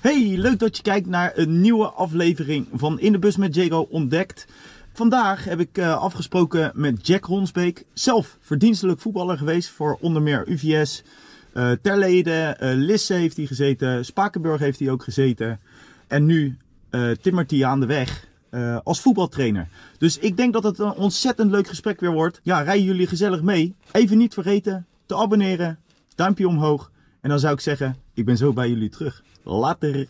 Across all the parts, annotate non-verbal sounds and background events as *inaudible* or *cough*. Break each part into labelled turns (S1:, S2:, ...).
S1: Hey, leuk dat je kijkt naar een nieuwe aflevering van In de Bus met Jago Ontdekt. Vandaag heb ik eh, afgesproken met Jack Ronsbeek, zelf verdienstelijk voetballer geweest voor onder meer UVS, eh, Terlede, eh Lisse heeft hij gezeten, Spakenburg heeft hij ook gezeten en nu eh timmert hij aan de weg eh, als voetbaltrainer. Dus ik denk dat het een ontzettend leuk gesprek weer wordt. Ja, rijden jullie gezellig mee. Even niet vergeten te abonneren, duimpje omhoog en dan zou ik zeggen, ik ben zo bij jullie terug. Later!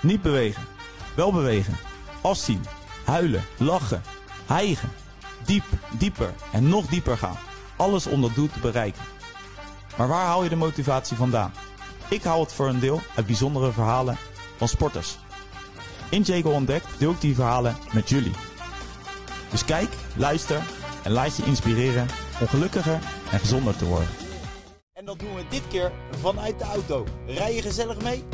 S2: Niet bewegen. Wel bewegen. Afzien. Huilen. Lachen. Hijgen. Diep, dieper en nog dieper gaan. Alles om dat doel te bereiken. Maar waar haal je de motivatie vandaan? Ik haal het voor een deel uit bijzondere verhalen van sporters. In Jago Ontdekt deel ik die verhalen met jullie. Dus kijk, luister en laat je inspireren om gelukkiger en gezonder te worden. En dat doen we dit keer vanuit de auto. Rij je gezellig mee?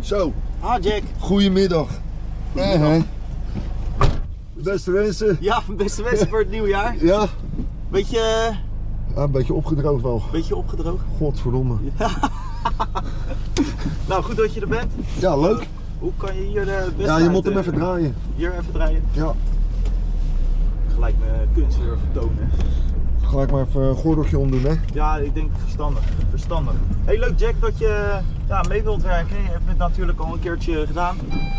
S3: Zo,
S1: Ah Jack,
S3: goedemiddag. Ja, hè. Beste wensen.
S1: ja, beste wensen voor het nieuwjaar.
S3: Ja,
S1: Beetje, eh,
S3: Ja, een beetje opgedroogd wel.
S1: beetje opgedroogd.
S3: Godverdomme.
S1: Nou, goed dat je er bent.
S3: Ja, leuk.
S1: Hoe kan je hier de beste
S3: Ja, je
S1: uit,
S3: moet hem
S1: eh,
S3: even draaien.
S1: Hier even draaien.
S3: Ja,
S1: Gelijk mijn kunst weer vertonen.
S3: gelijk maar even een gordeltje omdoen, hè.
S1: Ja, ik denk verstandig. Verstandig. Hey, leuk Jack dat je ja, mee wilt werken. Je hebt het natuurlijk al een keertje gedaan.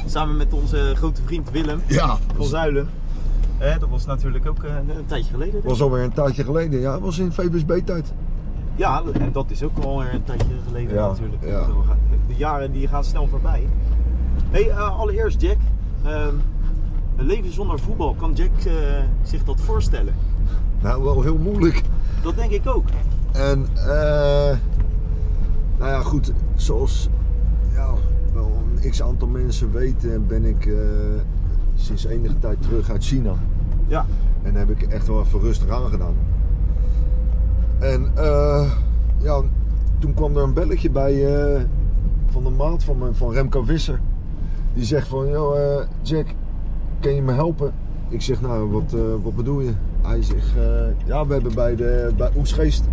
S1: Samen met onze grote vriend Willem
S3: Ja.
S1: van Zuilen. Eh, dat was natuurlijk ook eh, een tijdje geleden.
S3: was alweer een tijdje geleden. Ja, het was in VBSB-tijd.
S1: Ja, en dat is ook alweer een tijdje geleden
S3: Ja,
S1: natuurlijk.
S3: ja.
S1: We gaan- De jaren die gaan snel voorbij. Hey, eh, allereerst Jack. Ehm, een leven zonder voetbal, kan Jack eh, zich dat voorstellen?
S3: Nou, wel heel moeilijk.
S1: Dat denk ik ook.
S3: En, eh nou ja, goed, zoals ja, wel een x aantal mensen weten, ben ik eh, sinds enige tijd terug uit China.
S1: Ja.
S3: En daar heb ik echt wel even rustig aan gedaan. En, eh, ja, toen kwam er een belletje bij eh, van de maat van, me, van Remco Visser. Die zegt van, joh, eh, Jack, kan je me helpen? Ik zeg, nou, wat, eh, wat bedoel je? Hij zegt, eh, ja, we hebben bij, de, bij Oesgeest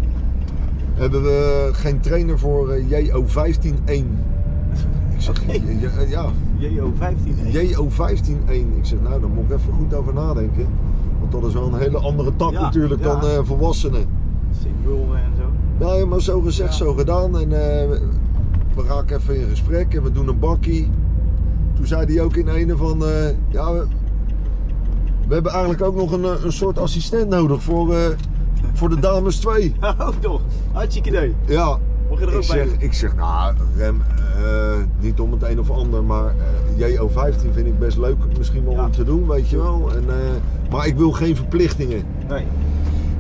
S3: hebben we geen trainer voor eh, JO151. Ik zeg,
S1: Oké.
S3: ja, ja, ja,
S1: JO 15.
S3: JO151. Ik zeg, nou, daar moet ik even goed over nadenken. Want dat is wel een hele andere tak
S1: Ja,
S3: natuurlijk
S1: ja.
S3: dan eh, volwassenen.
S1: Single en zo. *laughs*
S3: Nou ja, maar zo gezegd,
S1: Ja.
S3: zo gedaan. En eh, we raken even in gesprek en we doen een bakkie. Toen zei hij ook in ene van, eh, ja, we, we hebben eigenlijk ook nog een, eh, een soort assistent nodig voor, eh, voor de dames 2.
S1: Oh toch, hartstikke idee.
S3: Ja,
S1: Mocht je er
S3: ik
S1: ook bij
S3: zeg,
S1: doen?
S3: ik zeg, nou Rem, eh, niet om het een of ander, maar eh, JO15 vind ik best leuk misschien wel
S1: Ja.
S3: om te doen, weet je wel. En, eh, maar ik wil geen verplichtingen.
S1: Nee.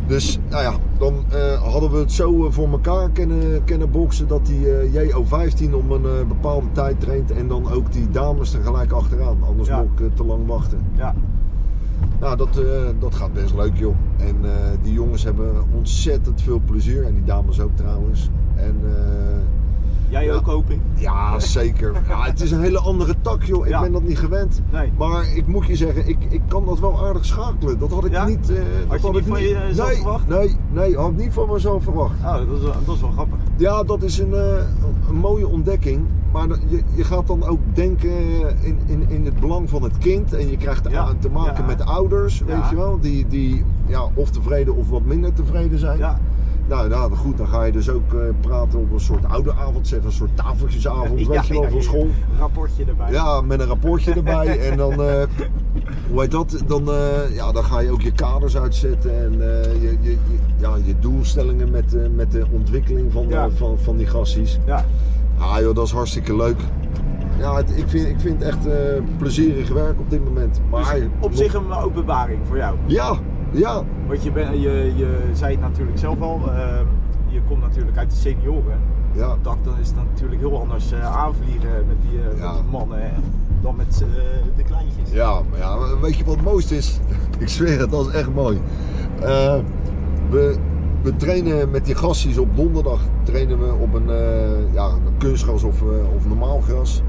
S3: Dus nou ja, dan eh, hadden we het zo eh, voor elkaar kunnen, kunnen boksen dat die eh, JO15 om een eh, bepaalde tijd traint en dan ook die dames er gelijk achteraan. Anders
S1: Ja.
S3: moet ik eh, te lang wachten.
S1: Ja.
S3: Nou, dat, eh, dat gaat best leuk, joh. En eh, die jongens hebben ontzettend veel plezier. En die dames ook trouwens. En eh,
S1: Jij
S3: Ja.
S1: ook hoop ik. *laughs*
S3: ja, zeker. Ja, het is een hele andere tak, joh. Ik
S1: Ja.
S3: ben dat niet gewend.
S1: Nee.
S3: Maar ik moet je zeggen, ik, ik kan dat wel aardig schakelen. Dat had ik
S1: Ja?
S3: niet... eh, dat
S1: je
S3: had
S1: niet
S3: ik
S1: van jezelf
S3: nee,
S1: verwacht?
S3: Nee, nee, had ik niet van mezelf verwacht.
S1: Oh, dat is, wel- dat is wel grappig.
S3: Ja, dat is een, eh, een mooie ontdekking. Maar dat- je, je gaat dan ook denken eh, in, in, in het belang van het kind. En je krijgt
S1: Ja,
S3: aan te maken
S1: ja.
S3: met ouders,
S1: Ja.
S3: weet je wel. Die, die ja, of tevreden of wat minder tevreden zijn.
S1: Ja.
S3: Nou, nou goed, dan ga je dus ook eh, praten op een soort ouderavond, zeg, een soort tafeltjesavond, weet
S1: *laughs* Ja,
S3: je wel,
S1: ja,
S3: van
S1: ja.
S3: school.
S1: Rapportje erbij.
S3: Ja, met een rapportje erbij.
S1: *laughs*
S3: En dan, eh, hoe heet dat? Dan, eh, ja, dan ga je ook je kaders uitzetten en eh, je, je, je- ja, je doelstellingen met, eh, met de ontwikkeling van, de-
S1: Ja.
S3: van, van die gasties.
S1: Ja.
S3: Ah joh, dat is hartstikke leuk. Ja, het- ik, vind, ik vind het echt eh, plezierig werk op dit moment. Maar
S1: Dus op
S3: nog-
S1: zich een openbaring voor jou.
S3: Ja, ja,
S1: Want je, ben, je, je zei het natuurlijk zelf al, ehm, je komt natuurlijk uit de senioren.
S3: Ja.
S1: dak, dan is het natuurlijk heel anders eh, aanvliegen met die, eh,
S3: Ja.
S1: met die mannen hè, dan met eh, de kleintjes.
S3: Ja, maar ja, maar weet je wat het mooiste is? *laughs* Ik zweer het, dat is echt mooi. Eh, we, we trainen met die gasties op donderdag trainen we op een eh, ja, kunstgras of, eh, of normaal gras.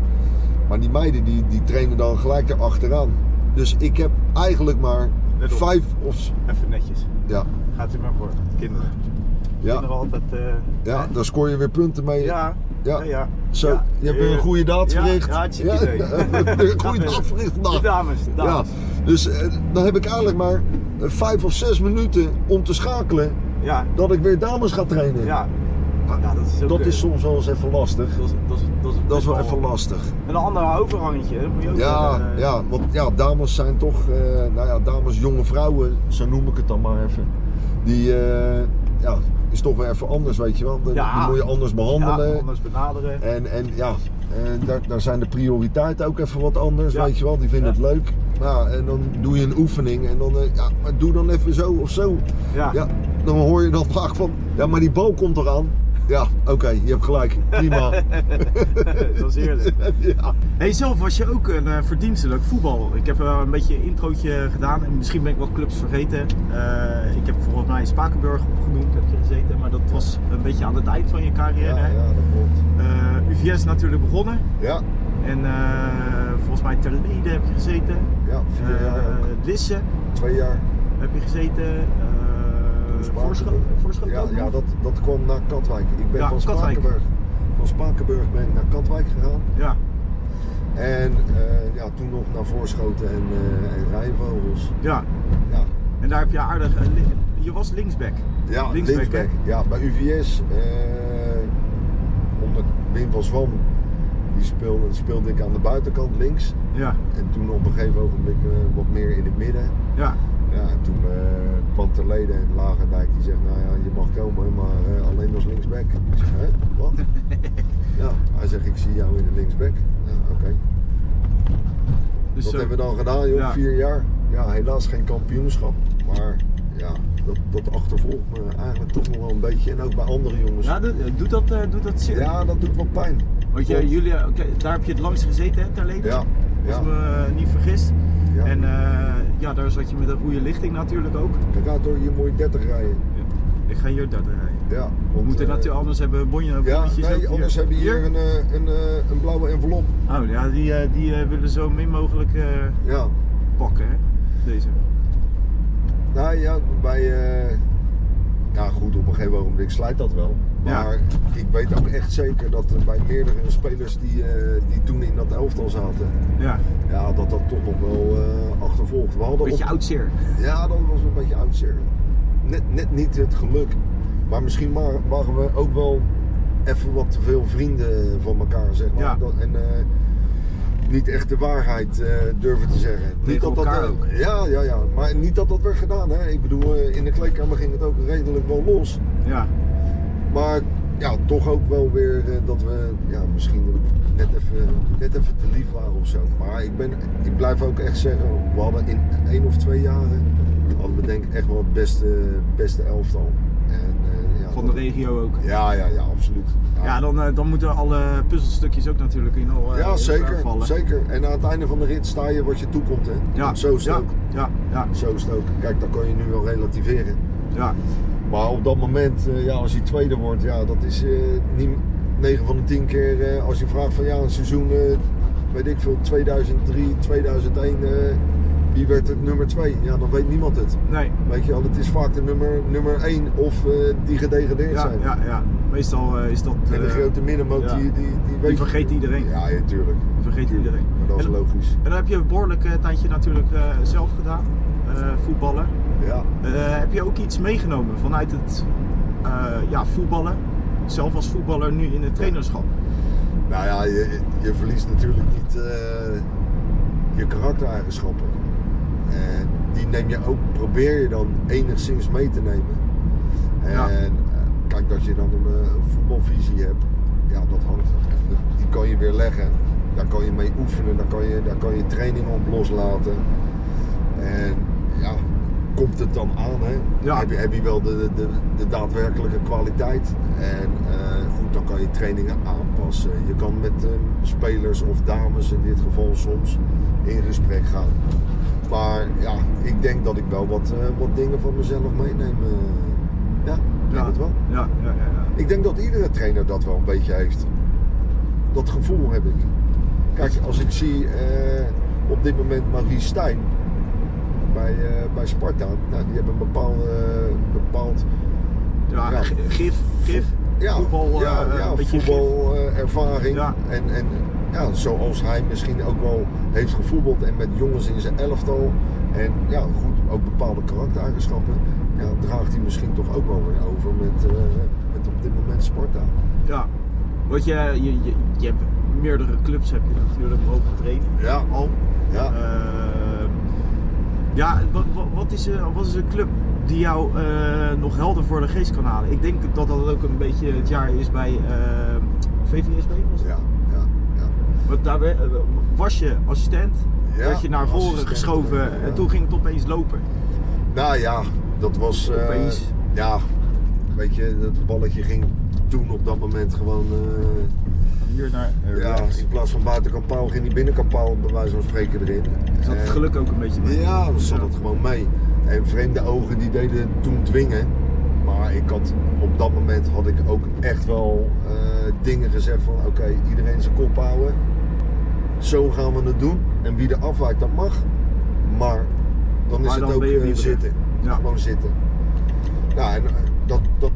S3: Maar die meiden die, die trainen dan gelijk erachteraan. Dus ik heb eigenlijk maar
S1: Let op.
S3: vijf of... s-
S1: Even netjes.
S3: Ja,
S1: Gaat u maar voor. Kinderen.
S3: ja,
S1: Kinderen altijd. eh,
S3: ja, daar scoor je weer punten mee.
S1: ja.
S3: Ja.
S1: ja, ja.
S3: Zo,
S1: Ja.
S3: je hebt weer een
S1: Eh,
S3: goede daad
S1: ja,
S3: verricht.
S1: ja, hartstikke idee.
S3: *laughs* een goede daad verricht vandaag.
S1: Dames,
S3: Ja,
S1: dames.
S3: dus eh, dan heb ik eigenlijk maar eh, vijf of zes minuten om te schakelen
S1: Ja.
S3: dat ik weer dames ga trainen.
S1: Ja. Ja, dat is ook,
S3: dat
S1: eh,
S3: is soms wel eens even lastig.
S1: Dat is, dat is, dat is,
S3: Dat
S1: best
S3: is wel even lastig.
S1: Een ander overhangetje, hè, moet je ook
S3: Ja,
S1: zeggen.
S3: ja, want ja, dames zijn toch, eh, nou ja, dames, jonge vrouwen, zo noem ik het dan maar even. Die eh, ja, is toch weer even anders, weet je wel. Die,
S1: Ja.
S3: die moet je anders behandelen.
S1: Ja, anders benaderen.
S3: En, en ja, eh, daar, daar zijn de prioriteiten ook even wat anders,
S1: Ja.
S3: weet je wel. Die vinden
S1: Ja.
S3: het leuk. Ja, en dan doe je een oefening en dan, eh, ja, maar doe dan even zo of zo.
S1: Ja.
S3: Ja, dan hoor je dan vaak van, ja, maar die bal komt eraan. Ja, oké, je hebt gelijk.
S1: *laughs*
S3: Prima.
S1: *laughs* dat is heerlijk.
S3: *laughs* ja.
S1: Hey, zelf was je ook een eh, verdienstelijk voetbal. Ik heb eh, een beetje een introotje gedaan en misschien ben ik wat clubs vergeten. Eh, ik heb volgens mij Spakenburg opgenoemd, heb je gezeten, maar dat was een beetje aan het eind van je carrière.
S3: Ja,
S1: hè?
S3: ja, dat klopt.
S1: Eh, UVS natuurlijk begonnen
S3: Ja,
S1: en eh, volgens mij Terlede heb je gezeten.
S3: ja vier jaar, ook.
S1: Eh, Lisse
S3: twee jaar.
S1: heb je gezeten.
S3: Toen
S1: eh
S3: Spakenburg.
S1: Voorschoten Voorschoten
S3: Ja,
S1: ook nog?
S3: ja dat, dat kwam naar Katwijk. Ik ben
S1: Ja,
S3: van
S1: Katwijk.
S3: Spakenburg. Van Spakenburg ben ik naar Katwijk gegaan.
S1: ja.
S3: En eh, ja, toen nog naar Voorschoten en, eh en Rijnvogels.
S1: Ja,
S3: Ja,
S1: en daar heb je aardig. eh, li- Je was linksback.
S3: ja
S1: Linksback,
S3: linksback. Ja, bij UVS, eh, onder Wim van Zwam, die speelde, speelde ik aan de buitenkant links.
S1: Ja,
S3: En toen op een gegeven ogenblik eh, wat meer in het midden.
S1: ja,
S3: Ja, en toen eh kwam ter leden en Lagendijk die zegt, nou ja, je mag komen, maar eh, alleen als linksback. Ik zeg, hè, wat? ja, hij zegt, ik zie jou in de linksback. Ja, oké.
S1: dus
S3: Dat
S1: eh,
S3: hebben we dan gedaan, joh,
S1: ja.
S3: vier jaar. Ja, helaas geen kampioenschap. Maar ja, dat, dat achtervolgt me eigenlijk toch nog wel een beetje. En ook bij andere jongens.
S1: ja,
S3: Ja,
S1: doe- doet dat, eh, doet dat zeer?
S3: dat doet wel pijn.
S1: Want je,
S3: Klopt.
S1: jullie, eh, oké, daar heb je het langst gezeten, hè, ter leden?
S3: Ja,
S1: Als
S3: ja,
S1: ik me eh, niet vergis.
S3: ja.
S1: En eh, ja, daar zat je met een goede lichting natuurlijk ook.
S3: Kijk uit hoor, hier moet je 30 rijden.
S1: Ik ga hier daar rijden.
S3: Ja, want,
S1: We moeten
S3: eh,
S1: natuurlijk anders hebben we bonje,
S3: Ja,
S1: bonnetjes ook
S3: nee, anders hebben we hier een, eh, een, eh, een blauwe envelop.
S1: Oh ja, die, eh, die eh, willen zo min mogelijk eh,
S3: Ja.
S1: pakken, hè? Deze.
S3: Nou ja, bij. eh, ja, goed, op een gegeven ogenblik slijt dat wel.
S1: Ja.
S3: Maar ik weet ook echt zeker dat er bij meerdere spelers die, eh, die toen in dat elftal zaten,
S1: Ja,
S3: ja, dat dat toch nog wel eh, achtervolgt. We hadden
S1: beetje
S3: op-
S1: oud zeer.
S3: Ja, dat was een beetje oud zeer. Net, net niet het geluk. Maar misschien wa- waren we ook wel even wat te veel vrienden van elkaar, zeg maar.
S1: Ja.
S3: Dat- en eh, niet echt de waarheid eh, durven te zeggen. niet dat dat,
S1: elkaar
S3: eh,
S1: ook.
S3: ja, ja, ja. Maar niet dat dat werd gedaan, hè. Ik bedoel, eh, in de kleedkamer ging het ook redelijk wel los.
S1: Ja,
S3: Maar ja, toch ook wel weer eh, dat we ja, misschien net even, net even te lief waren of zo. Maar ik, ben, ik blijf ook echt zeggen, we hadden in één of twee jaren, hadden we denk ik echt wel het beste, beste elftal. En, eh, ja,
S1: van de
S3: dat-
S1: regio ook.
S3: Ja, ja, ja, absoluut.
S1: Ja, dan, eh, dan moeten alle puzzelstukjes ook natuurlijk in al eh, in
S3: Ja,
S1: elkaar
S3: zeker,
S1: vallen.
S3: zeker. En aan het einde van de rit sta je wat je toekomt, hè.
S1: Ja,
S3: Zo is het
S1: ja,
S3: ook.
S1: ja, ja,
S3: Zo is het ook. Kijk, dan kan je nu wel relativeren.
S1: ja,
S3: Maar op dat moment, eh, ja, als hij tweede wordt, ja, dat is eh, niet 9 van de 10 keer eh, als je vraagt van ja, een seizoen, eh, weet ik veel, 2003, 2001, eh, wie werd het nummer 2? Ja, dan weet niemand het.
S1: nee,
S3: Weet je wel, het is vaak de nummer, nummer 1 of eh, die gedegradeerd
S1: ja,
S3: zijn.
S1: ja, ja. Meestal eh, is dat,
S3: En de
S1: eh,
S3: grote middenmoot,
S1: ja.
S3: die, die, die weet
S1: die vergeet iedereen,
S3: Ja, ja, tuurlijk.
S1: vergeet iedereen.
S3: Maar dat is
S1: En-
S3: logisch.
S1: En dan heb je een behoorlijk eh, tijdje natuurlijk eh, zelf gedaan, eh, voetballen.
S3: Ja.
S1: Eh, heb je ook iets meegenomen vanuit het eh, ja, voetballen, zelf als voetballer nu in het trainerschap?
S3: Nou ja, je, je verliest natuurlijk niet eh, je karaktereigenschappen. En die neem je ook, probeer je dan enigszins mee te nemen. En
S1: Ja.
S3: eh, kijk, dat je dan een eh, voetbalvisie hebt, ja, dat hangt. Die kan je weer leggen. Daar kan je mee oefenen, daar kan je, daar kan je training op loslaten. En ja, komt het dan aan? Hè?
S4: Ja.
S3: Heb, je, heb je wel de, de, de daadwerkelijke kwaliteit? En eh, goed, dan kan je trainingen aanpassen. Je kan met eh, spelers of dames in dit geval soms in gesprek gaan. Maar ja, ik denk dat ik wel wat, eh, wat dingen van mezelf meeneem. eh. ja, ik denk
S4: ja.
S3: het wel.
S4: Ja, ja, ja, ja.
S3: Ik denk dat iedere trainer dat wel een beetje heeft. Dat gevoel heb ik. Kijk, als ik zie eh, op dit moment Marie Stijn bij, eh, bij Sparta, nou, die hebben een bepaald, bepaald
S4: Ja,
S3: Ja.
S4: g- gif, gif,
S3: ja,
S4: voetbal, eh,
S3: ja,
S4: eh,
S3: ja,
S4: een beetje gif.
S3: voetbalervaring.
S4: Ja.
S3: En, en ja, zoals hij misschien ook wel heeft gevoetbald en met jongens in zijn elftal. En ja, goed, ook bepaalde karaktereigenschappen. Ja, draagt hij misschien toch ook wel weer over met, eh, met op dit moment Sparta.
S4: Ja. Want je, je, je, je hebt meerdere clubs heb je natuurlijk mogen trainen.
S3: Ja,
S4: Al.
S3: ja.
S4: Ehm, ja, wat, wat, is, eh, wat is een club die jou eh, nog helder voor de geest kan halen? Ik denk dat dat ook een beetje het jaar is bij eh, VVSB. Was het?
S3: Ja, ja, ja.
S4: Want daar we- eh, was je assistent,
S3: Ja,
S4: werd je naar voren
S3: assistent,
S4: geschoven
S3: ja, ja.
S4: en toen ging het opeens lopen.
S3: Nou ja, dat was. eh,
S4: Opeens.
S3: ja, weet je, dat balletje ging toen op dat moment gewoon. eh,
S4: Hier naar
S3: ja, in plaats van buitenkant paal ging die binnenkant paal, bij wijze van spreken erin.
S4: Zat het
S3: En-
S4: geluk ook een beetje mee?
S3: eh, Ja, dan zat
S4: Ja.
S3: het gewoon mee. En vreemde ogen die deden toen dwingen. Maar ik had, op dat moment had ik ook echt wel eh, dingen gezegd van oké, iedereen zijn kop houden. Zo gaan we het doen. En wie er afwijkt, dat mag. Maar dan is
S4: Maar dan
S3: het ook
S4: ben je
S3: eh,
S4: liever-
S3: zitten.
S4: Ja.
S3: Gewoon zitten. Nou, en eh, dat, dat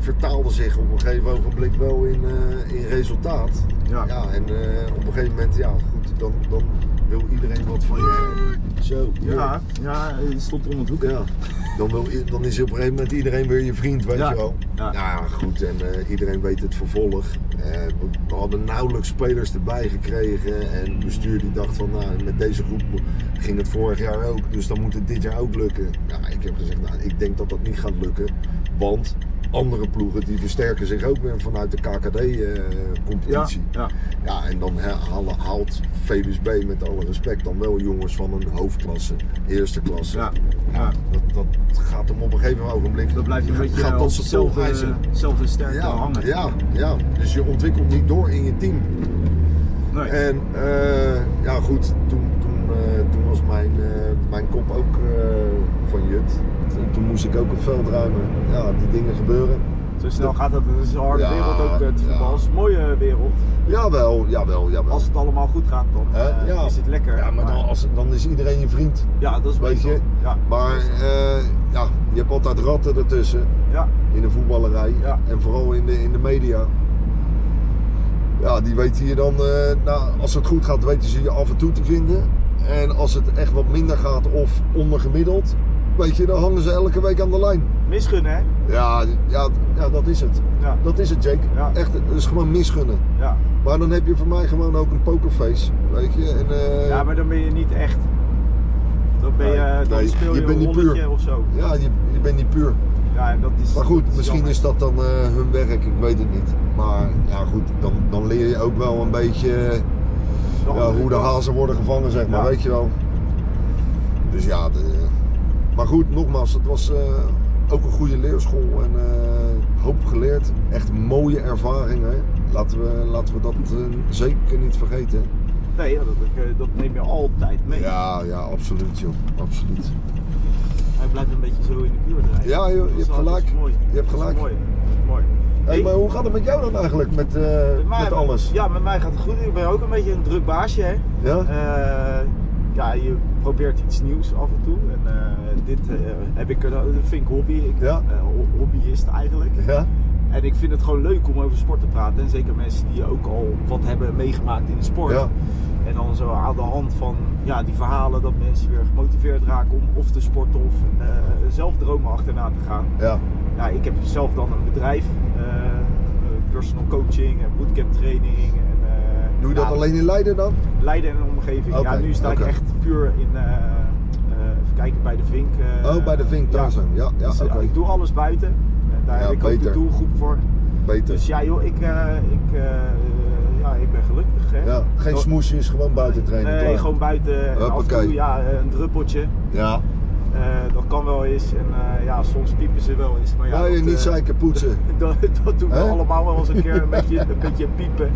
S3: vertaalde zich op een gegeven ogenblik wel in, eh, in resultaat.
S4: Ja.
S3: Ja, en eh, op een gegeven moment, ja goed, dan, dan wil iedereen wat van je hebben. Zo.
S4: Ja, ja, het stond om het hoek.
S3: Ja. Dan, wil, i- dan is op een gegeven moment iedereen weer je vriend, weet
S4: Ja.
S3: je wel.
S4: Ja.
S3: Nou ja, goed, en eh, iedereen weet het vervolg. Eh, we, we hadden nauwelijks spelers erbij gekregen. En het bestuur die dacht van, nou, met deze groep ging het vorig jaar ook. Dus dan moet het dit jaar ook lukken. Nou, ik heb gezegd, nou, ik denk dat dat niet gaat lukken. Want andere ploegen die versterken zich ook weer vanuit de
S4: Ja,
S3: KKD-competitie.
S4: ja.
S3: eh, Ja, en dan he- halen- haalt VWSB met alle respect dan wel jongens van een hoofdklasse, eerste klasse.
S4: ja. ja.
S3: Dat, dat gaat hem op een gegeven ogenblik.
S4: Dan blijf je een beetje
S3: gaat
S4: eh,
S3: dat
S4: op
S3: ze toch
S4: dezelfde,
S3: eisen.
S4: dezelfde sterkte
S3: Ja,
S4: hangen.
S3: ja, ja, dus je ontwikkelt niet door in je team.
S4: Nee.
S3: En eh, ja, goed, toen, toen, eh, toen was mijn, eh, mijn kop ook eh, van Jut. Toen, toen moest ik ook het veld ruimen. Ja, die dingen gebeuren.
S1: Zo snel gaat dat. Het is een harde
S3: Ja,
S1: wereld ook, eh, het
S3: ja.
S1: voetbal. Het is een mooie wereld.
S3: Jawel, jawel, jawel.
S1: Als het allemaal goed gaat, dan
S3: Hè?
S1: eh,
S3: Ja.
S1: is het lekker.
S3: ja, maar dan, als, dan is iedereen je vriend.
S1: ja, dat is
S3: Weet
S1: meestal.
S3: je?
S1: Ja.
S3: Maar eh, ja, je hebt altijd ratten ertussen.
S1: Ja.
S3: in de voetballerij
S1: Ja.
S3: en vooral in de, in de media. Ja, die weten je dan, eh, nou, als het goed gaat, weten ze je af en toe te vinden. En als het echt wat minder gaat of ondergemiddeld, weet je, dan hangen ze elke week aan de lijn.
S1: Misgunnen, hè?
S3: Ja, ja, ja dat is het.
S1: Ja.
S3: Dat is het, Jake.
S1: Ja.
S3: Echt, het is gewoon misgunnen.
S1: Ja.
S3: Maar dan heb je voor mij gewoon ook een pokerface, weet je. En, eh,
S1: ja, maar dan ben je niet echt. Dan, ben je,
S3: Nee,
S1: dan
S3: nee,
S1: speel
S3: je
S1: je,
S3: bent
S1: een
S3: niet puur.
S1: rolletje of zo.
S3: ja, je, je bent niet puur.
S1: Ja, en dat is,
S3: Maar
S1: dat
S3: goed,
S1: is
S3: misschien
S1: jammer.
S3: is dat dan eh, hun werk, ik weet het niet. Maar ja, goed, dan, dan leer je ook wel een beetje eh,
S1: De
S3: ja,
S1: andere
S3: hoe de
S1: kant.
S3: hazen worden gevangen, zeg maar,
S1: Ja.
S3: weet je wel. Dus ja, de- maar goed, nogmaals, het was eh, ook een goede leerschool en eh, hoop geleerd. Echt mooie ervaringen. Laten we, laten we dat eh, zeker niet vergeten.
S1: Nee, ja, dat, eh, dat neem je altijd mee.
S3: Ja, ja, absoluut joh, absoluut.
S1: Hij blijft een beetje zo in de buurt rijden.
S3: Ja, joh, je hebt gelijk.
S1: Mooi.
S3: Je hebt
S1: Dat is
S3: gelijk.
S1: Mooi. Dat is mooi.
S3: Hey,
S1: Hey,
S3: maar hoe gaat het met jou dan eigenlijk, met, eh,
S1: met mij-
S3: met alles?
S1: Ja, met mij gaat het goed. Ik ben ook een beetje een druk baasje, hè?
S3: Ja?
S1: Eh, ja, je probeert iets nieuws af en toe. En eh, dit eh, heb ik, er- dat vind ik hobby. Ik
S3: Ja.
S1: eh, ho- hobbyist eigenlijk.
S3: Ja?
S1: En ik vind het gewoon leuk om over sport te praten. En zeker mensen die ook al wat hebben meegemaakt in de sport.
S3: Ja.
S1: En dan zo aan de hand van ja, die verhalen dat mensen weer gemotiveerd raken om of te sporten of eh, zelf dromen achterna te gaan.
S3: Ja.
S1: Ja, ik heb zelf dan een bedrijf. eh, eh, personal coaching en bootcamp training. En, eh,
S3: Doe je
S1: ja,
S3: dat alleen in Leiden dan?
S1: Leiden en omgeving.
S3: Oké,
S1: ja, nu sta
S3: oké.
S1: ik echt puur in. eh, eh, even kijken bij de Vink. eh,
S3: oh, bij de Vink daar zo. Ja, ja
S1: Dus,
S3: oké.
S1: eh, Ik doe alles buiten. En daar
S3: Ja,
S1: heb ik ook
S3: beter.
S1: de doelgroep voor.
S3: Beter.
S1: Dus ja, joh, ik, eh, ik, eh, ja, ik ben gelukkig. Hè?
S3: ja, geen
S1: Zo-
S3: smoesjes, gewoon buiten trainen.
S1: Nee,
S3: klaar.
S1: gewoon buiten. En af en
S3: Hoppakee.
S1: toe ja, een druppeltje.
S3: Ja,
S1: Eh, Eh, dat kan wel eens. En eh, ja, soms piepen ze wel eens. Maar ja,
S3: nou, je
S1: dat,
S3: niet
S1: eh,
S3: zeiken poetsen.
S1: *laughs* dat, dat doen we
S3: Hè?
S1: allemaal wel eens een keer
S3: *laughs*
S1: een, beetje, een beetje piepen.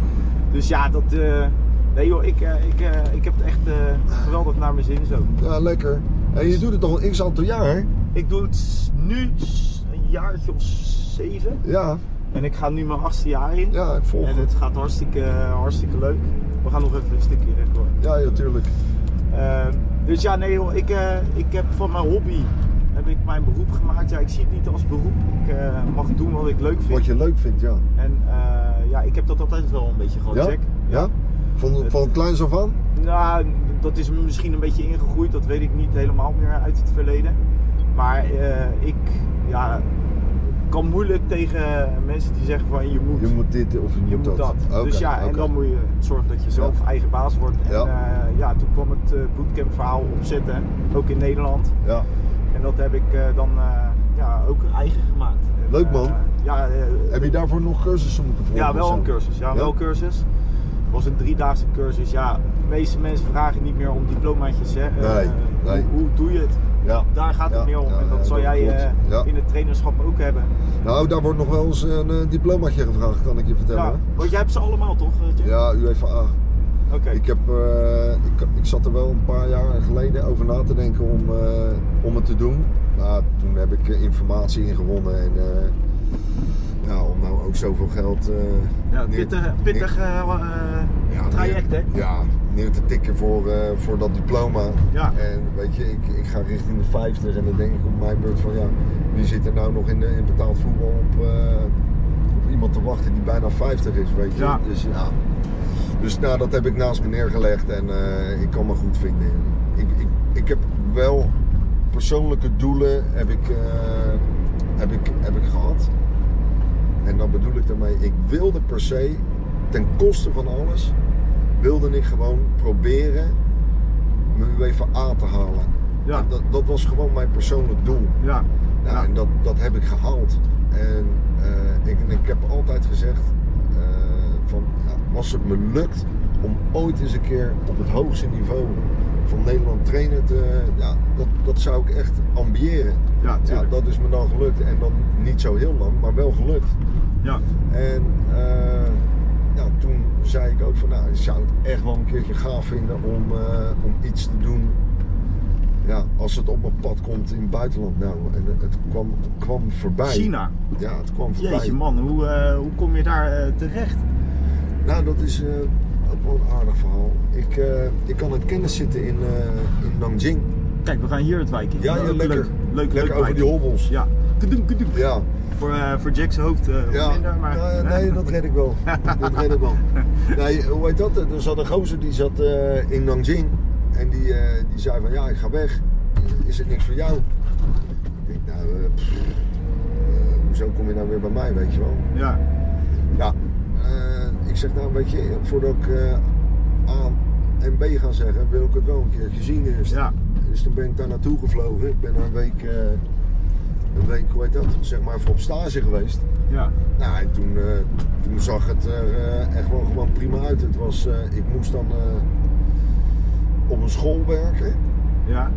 S1: Dus ja, dat. eh, nee joh, ik, eh, ik, eh, ik heb het echt eh, geweldig naar mijn zin zo.
S3: Ja, lekker. En je doet het al een x aantal jaar.
S1: Ik doe het nu s- een jaartje of zeven.
S3: Ja,
S1: En ik ga nu mijn achtste jaar in.
S3: ja, ik volg
S1: En eh,
S3: het.
S1: het gaat hartstikke, hartstikke leuk. We gaan nog even een stukje rechtdoor.
S3: Ja, ja, tuurlijk.
S1: Ehm, dus ja, nee joh, ik, eh, ik heb van mijn hobby heb ik mijn beroep gemaakt. Ja, ik zie het niet als beroep. Ik eh, mag doen wat ik leuk vind.
S3: Wat je leuk vindt, ja.
S1: En eh, ja, ik heb dat altijd wel een beetje gehad,
S3: Ja?
S1: Jack.
S3: Ja? Van, van kleins af aan?
S1: Nou, dat is me misschien een beetje ingegroeid. Dat weet ik niet helemaal meer uit het verleden. Maar eh, ik ja, kan moeilijk tegen mensen die zeggen van je moet.
S3: Je moet dit of je,
S1: Je moet
S3: dat.
S1: dat.
S3: Oké,
S1: dus ja, en
S3: oké.
S1: dan moet je zorgen dat je zelf eigen baas wordt. En
S3: Ja.
S1: ja, ja toen kwam het eh, bootcamp verhaal opzetten, ook in Nederland.
S3: Ja,
S1: En dat heb ik eh, dan eh, ja, ook eigen gemaakt. En,
S3: Leuk, man.
S1: eh, ja, eh,
S3: Heb je daarvoor nog cursussen moeten volgen?
S1: ja,
S3: of
S1: wel
S3: zo?
S1: een cursus. Ja, wel een cursus. Het was een driedaagse cursus. Ja, de meeste mensen vragen niet meer om diplomaatjes. Hè. Eh,
S3: Nee, nee.
S1: Hoe, hoe doe je het?
S3: Ja.
S1: Daar gaat het
S3: Ja,
S1: meer om.
S3: ja,
S1: en dat
S3: ja,
S1: zal
S3: dat
S1: jij
S3: klopt.
S1: eh,
S3: Ja.
S1: in het trainerschap ook hebben.
S3: Nou, daar wordt nog wel eens een eh, diplomaatje gevraagd, kan ik je vertellen.
S1: Ja, want jij hebt ze allemaal toch? eh, Jack?
S3: Ja, UEFA.
S1: Oké.
S3: Ik, heb, eh, ik, ik zat er wel een paar jaar geleden over na te denken om, eh, om het te doen. Maar toen heb ik eh, informatie ingewonnen en eh, ja, om nou ook zoveel geld eh,
S1: Ja,
S3: neer-
S1: pittig, pittig eh, wa- eh,
S3: neer- ja,
S1: traject, hè?
S3: neer, ja, neer te tikken voor, eh, voor dat diploma.
S1: Ja.
S3: En weet je, ik, ik ga richting de 50 en dan denk ik op mijn beurt van ja, wie zit er nou nog in, de- in betaald voetbal op, eh, op iemand te wachten die bijna 50 is, weet je.
S1: Ja.
S3: Dus ja. Dus nou, dat heb ik naast me neergelegd en eh, ik kan me goed vinden. Ik, ik, ik heb wel persoonlijke doelen heb ik, eh, heb, ik, heb ik gehad. En dat bedoel ik daarmee, ik wilde per se, ten koste van alles, wilde ik gewoon proberen mijn UEFA A te halen.
S1: Ja.
S3: En Dat, dat was gewoon mijn persoonlijk doel.
S1: Ja.
S3: Nou,
S1: Ja.
S3: En dat, dat heb ik gehaald. En eh, ik, en ik heb altijd gezegd, eh, van, ja, als het me lukt om ooit eens een keer op het hoogste niveau van Nederland trainer te... ja, dat, dat zou ik echt ambiëren.
S1: Ja,
S3: Ja,
S1: tuurlijk.
S3: dat is me dan gelukt. En dan niet zo heel lang, maar wel gelukt.
S1: Ja.
S3: En eh, ja, toen zei ik ook van, nou, ik zou het echt wel een keertje gaaf vinden om, eh, om iets te doen. Ja, als het op mijn pad komt in het buitenland. Nou, en het kwam, kwam voorbij.
S1: China.
S3: Ja, het kwam voorbij.
S4: Jeetje man, hoe, eh, hoe kom je daar eh, terecht?
S3: Nou, dat is eh, ook wel een aardig verhaal. Ik, eh, ik kan het kennis zitten in, eh, in Nanjing.
S4: Kijk, we gaan hier het wijken.
S3: Ja, ja,
S4: Leuk,
S3: lekker.
S4: Leuk, leuk,
S3: Lekker
S4: leuk
S3: over die
S4: wijken.
S3: hobbels.
S4: Ja. Kadoem, kadoem.
S3: Ja,
S4: Voor, eh voor Jack's hoofd eh,
S3: Ja,
S4: minder, maar...
S3: nou, nee, dat red ik wel. dat red ik
S4: *laughs*
S3: wel. Nee, hoe heet dat? Er zat een gozer die zat eh, in Nanjing. En die, eh, die zei van, ja, ik ga weg. Is het niks voor jou? Ik denk, nou, eh, pff, eh, hoezo kom je nou weer bij mij, weet je wel?
S4: Ja.
S3: Ja. eh, ik zeg, nou, weet je, voordat ik eh, A en B ga zeggen, wil ik het wel een keertje zien eerst.
S4: Ja.
S3: Dus toen ben ik daar naartoe gevlogen. Ik ben een week, eh, een week, hoe heet dat, zeg maar, voor op stage geweest.
S4: Ja.
S3: Nou, en toen, eh, toen zag het er eh, echt wel gewoon prima uit. Het was, eh, ik moest dan eh, op een school werken.
S4: Ja.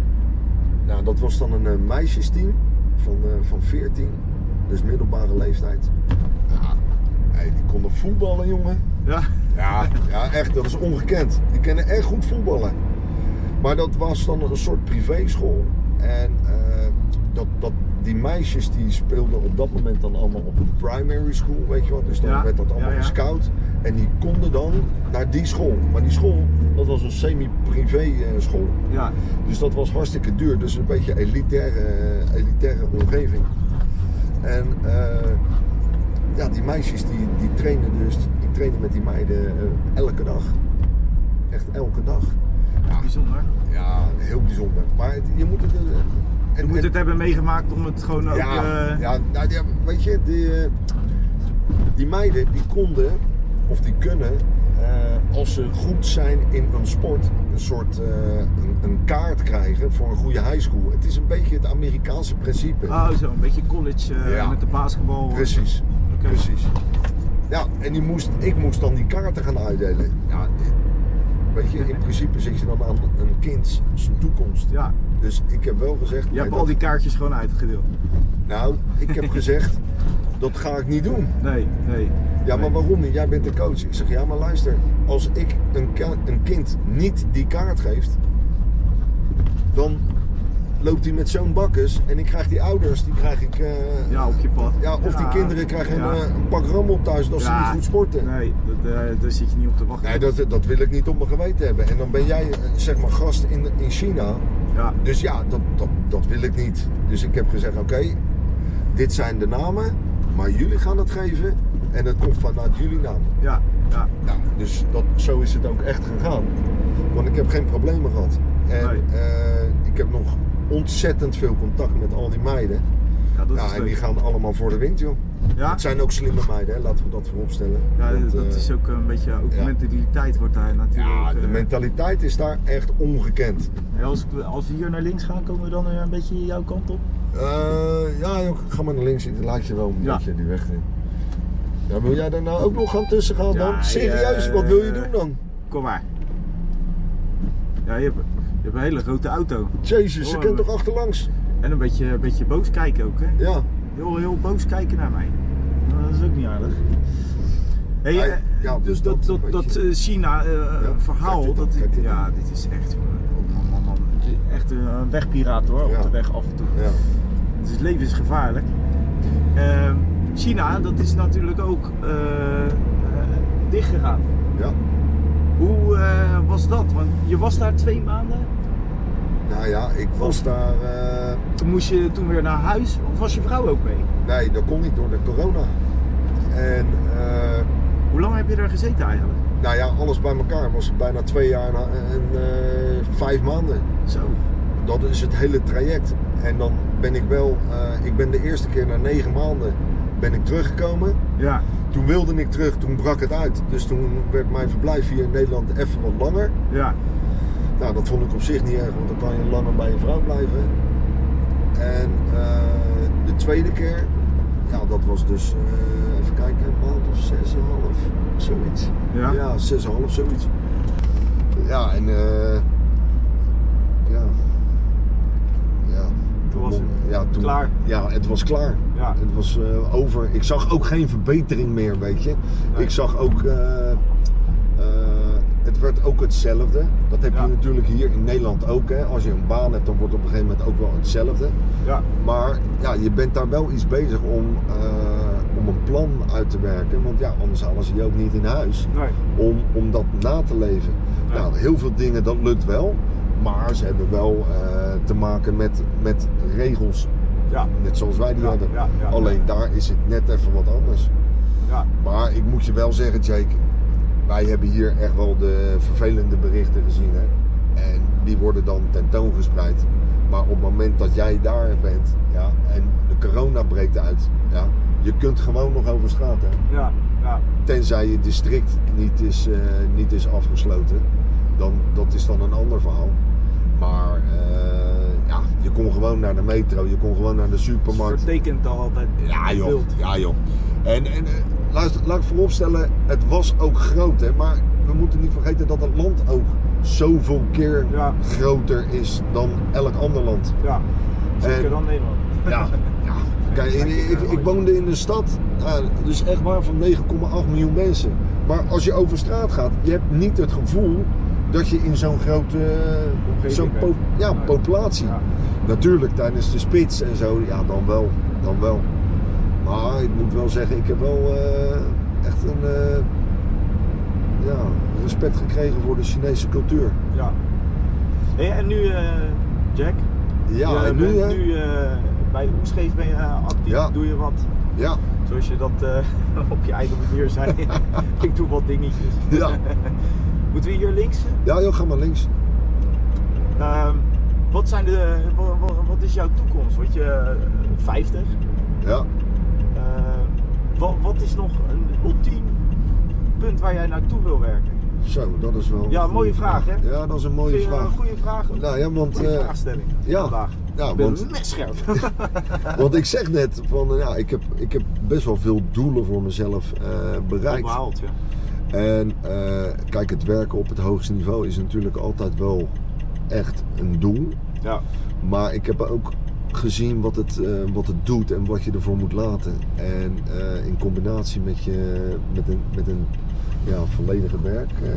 S3: Nou, dat was dan een eh, meisjesteam van, eh, van 14, dus middelbare leeftijd. Ja, hey, die konden voetballen, jongen.
S4: Ja.
S3: Ja, ja, echt, dat is ongekend. Die kennen echt goed voetballen. Maar dat was dan een soort privéschool. En eh, dat, dat, die meisjes die speelden op dat moment dan allemaal op de primary school, weet je wel. Dus dan
S4: Ja,
S3: werd dat allemaal
S4: ja, ja.
S3: gescout. En die konden dan naar die school. Maar die school, dat was een semi-privé eh, school.
S4: Ja.
S3: Dus dat was hartstikke duur. Dus een beetje elitaire, eh, elitaire omgeving. En eh, ja, die meisjes die, die trainen dus. Die trainen met die meiden eh, elke dag. Echt elke dag.
S4: Bijzonder.
S3: Ja, heel bijzonder. Maar het- je moet het... eh,
S4: Je
S3: en-
S4: moet
S3: en-
S4: het hebben meegemaakt om het gewoon ook...
S3: ja,
S4: eh,
S3: ja, nou, ja, weet je, die, eh, die meiden die konden, of die kunnen, eh, als ze goed zijn in een sport, een soort eh, een, een kaart krijgen voor een goede high school. Het is een beetje het Amerikaanse principe.
S1: Ah.
S4: Oh, zo. Een beetje college eh,
S3: Ja.
S4: met de basketbal.
S3: Precies,
S4: Oké.
S3: precies. Ja, en die moest, ik moest dan die kaarten gaan uitdelen. Ja, Weet je, in principe zit je dan aan een kind zijn toekomst.
S1: Ja,
S3: Dus ik heb wel gezegd.
S1: je
S3: nee,
S1: hebt
S3: dat-
S1: al die kaartjes gewoon uitgedeeld.
S3: Nou, ik heb
S1: *laughs*
S3: gezegd, dat ga ik niet doen.
S1: Nee, nee.
S3: Ja, maar
S1: Nee.
S3: waarom niet? Jij bent de coach. Ik zeg, ja, maar luister, als ik een, ka- een kind niet die kaart geeft, dan loopt hij met zo'n bakkes en ik krijg die ouders, die krijg ik. eh,
S1: Ja, op je pad.
S3: ja, of die
S1: Ja.
S3: kinderen krijgen
S1: Ja.
S3: een, eh, een pak rammel thuis als ze
S1: Ja.
S3: niet goed sporten. Nee,
S1: Nee, dat, eh, daar zit je niet op te wachten.
S3: dat, dat wil ik niet op mijn geweten hebben. En dan ben jij, eh, zeg maar, gast in, in China.
S1: Ja,
S3: Dus ja, dat, dat, dat wil ik niet. Dus ik heb gezegd, oké, dit zijn de namen, maar jullie gaan het geven en dat komt vanuit jullie naam.
S1: ja, ja.
S3: Ja, dus dat, zo is het ook echt gegaan. Want ik heb geen problemen gehad. En
S1: Nee.
S3: eh, ik heb nog ontzettend veel contact met al die meiden.
S1: ja dat
S3: Ja,
S1: is
S3: en die
S1: leuk.
S3: gaan allemaal voor de wind, joh.
S1: Ja,
S3: Het zijn ook slimme meiden, hè? laten we dat vooropstellen.
S1: ja dat,
S3: Want, eh,
S1: is ook een beetje, ook
S3: ja.
S1: mentaliteit wordt daar natuurlijk.
S3: ja, de
S1: eh,
S3: mentaliteit is daar echt ongekend.
S1: hey, als, ik- als we hier naar links gaan, komen we dan weer een beetje jouw kant op?
S3: Eh, ja, joh, ga maar naar links. Dan laat je wel een
S1: Ja.
S3: beetje die weg in. Ja, wil jij daar nou ook nog gaan tussen gaan
S1: Ja,
S3: dan? Serieus, wat wil je
S1: eh,
S3: doen dan?
S1: Kom maar. Ja, je hebt, je hebt een hele grote auto.
S3: Jezus, ze
S1: Oh,
S3: kent
S1: eh,
S3: toch achterlangs?
S1: En een beetje, een beetje boos kijken ook, hè?
S3: Ja.
S1: Heel, heel boos kijken naar mij. Nou, Dat is ook niet aardig. Hey,
S3: Hij-
S1: eh,
S3: ja,
S1: dus dat, dat,
S3: weet
S1: dat
S3: je. Ja,
S1: China-verhaal,
S3: kijk
S1: eh,
S3: dit
S1: dat
S3: aan, kijk dit
S1: ja,
S3: aan.
S1: dit is echt, oh, man, man, man, Het is echt een wegpiraat hoor,
S3: Ja.
S1: op de weg af en toe.
S3: Ja.
S1: Dus het leven is gevaarlijk. Ehm, China, dat is natuurlijk ook eh, eh, dichtgegaan.
S3: ja.
S1: Hoe eh, was dat? Want je was daar twee maanden.
S3: Nou ja, ik was daar. eh,
S1: Toen moest je toen weer naar huis. Of was je vrouw ook mee?
S3: nee, dat kon niet door de corona. En eh,
S1: Hoe lang heb je daar gezeten eigenlijk?
S3: nou ja, alles bij elkaar was het bijna twee jaar en, en, eh, vijf maanden.
S1: Zo.
S3: Dat is het hele traject. En dan ben ik wel, eh, ik ben de eerste keer na negen maanden ben ik teruggekomen.
S1: Ja,
S3: Toen wilde ik terug, toen brak het uit. Dus toen werd mijn verblijf hier in Nederland even wat langer.
S1: ja,
S3: Nou, dat vond ik op zich niet erg, want dan kan je langer bij je vrouw blijven. En eh, de tweede keer, ja, dat was dus, eh, even kijken, een maand of zes en een half, zoiets.
S1: ja.
S3: Ja, zes en een half, zoiets. Ja, en eh ja. Ja.
S1: Toen was het
S3: ja, toen,
S1: klaar.
S3: Ja, het was klaar.
S1: Ja.
S3: Het was eh, over. Ik zag ook geen verbetering meer, weet je.
S1: Nee.
S3: Ik zag ook. eh, eh, het werd ook hetzelfde. Dat heb
S1: Ja.
S3: je natuurlijk hier in Nederland ook. Hè. Als je een baan hebt, dan wordt het op een gegeven moment ook wel hetzelfde.
S1: Ja.
S3: Maar ja, je bent daar wel iets bezig om, eh, om een plan uit te werken. Want ja, anders halen ze je ook niet in huis
S1: Nee.
S3: om, om dat na te leven.
S1: Ja.
S3: Nou, heel veel dingen dat lukt wel, maar ze hebben wel eh, te maken met, met regels.
S1: Ja.
S3: Net zoals wij die
S1: Ja,
S3: hadden.
S1: ja, ja,
S3: Alleen daar is het net even wat anders.
S1: Ja.
S3: Maar ik moet je wel zeggen, Jake, wij hebben hier echt wel de vervelende berichten gezien. Hè? En die worden dan tentoongespreid. Maar op het moment dat jij daar bent ja, en de corona breekt uit, ja, je kunt gewoon nog over straat. Hè?
S1: Ja. Ja.
S3: Tenzij je district niet is, eh, niet is afgesloten. Dan, dat is dan een ander verhaal. Maar eh, ja, je kon gewoon naar de metro, je kon gewoon naar de supermarkt.
S1: Vertekent al altijd.
S3: Ja
S1: het
S3: joh,
S1: beeld.
S3: ja joh. En, en eh, luister, laat ik vooropstellen, het was ook groot hè. Maar we moeten niet vergeten dat het land ook zoveel keer
S1: Ja.
S3: groter is dan elk ander land.
S1: Ja. Zeker
S3: En-
S1: dan Nederland.
S3: *laughs* Ja, ja. Kijk, in- ik,
S1: eh,
S3: ik woonde in een stad, ja, dus echt waar van 9,8 miljoen mensen. Maar als je over straat gaat, je hebt niet het gevoel dat je in zo'n grote eh, zo'n
S1: bent.
S3: po- ja,
S1: Nee.
S3: populatie.
S1: Ja.
S3: Natuurlijk tijdens de spits en zo, ja dan wel, dan wel. Maar ik moet wel zeggen, ik heb wel eh, echt een eh, ja, respect gekregen voor de Chinese cultuur.
S1: ja. Hey, en nu, eh, Jack?
S3: Ja,
S1: je
S3: en nu
S1: bent
S3: hè?
S1: nu eh, bij Oesgeef ben je eh, actief.
S3: Ja.
S1: Doe je wat?
S3: Ja,
S1: Zoals je dat eh, *laughs* op je eigen manier
S3: *laughs*
S1: zei. ik doe wat dingetjes. *laughs*
S3: Ja.
S1: Moeten we hier links?
S3: ja joh, ga maar links.
S1: Ehm, wat, zijn de, wa- wa- wat, is jouw toekomst? Word je eh, 50?
S3: Ja.
S1: wat, wat is nog een ultiem punt waar jij naartoe wil werken?
S3: Zo, dat is wel.
S1: Ja, mooie vraag, hè?
S3: Ja, dat is een mooie
S1: Vind je
S3: vraag.
S1: Een goede vraag.
S3: Nou ja, want,
S1: Goeie
S3: eh,
S1: vraagstelling
S3: ja.
S1: vandaag.
S3: Ja,
S1: ik ben
S3: want,
S1: messcherp.
S3: want ik zeg net van eh, ja, ik heb, ik heb best wel veel doelen voor mezelf eh, bereikt.
S1: Behaald, ja.
S3: En eh, kijk, het werken op het hoogste niveau is natuurlijk altijd wel echt een doel.
S1: Ja.
S3: Maar ik heb ook gezien wat het, eh, wat het doet en wat je ervoor moet laten. En eh, in combinatie met, je, met een, met een ja, volledige werk, eh,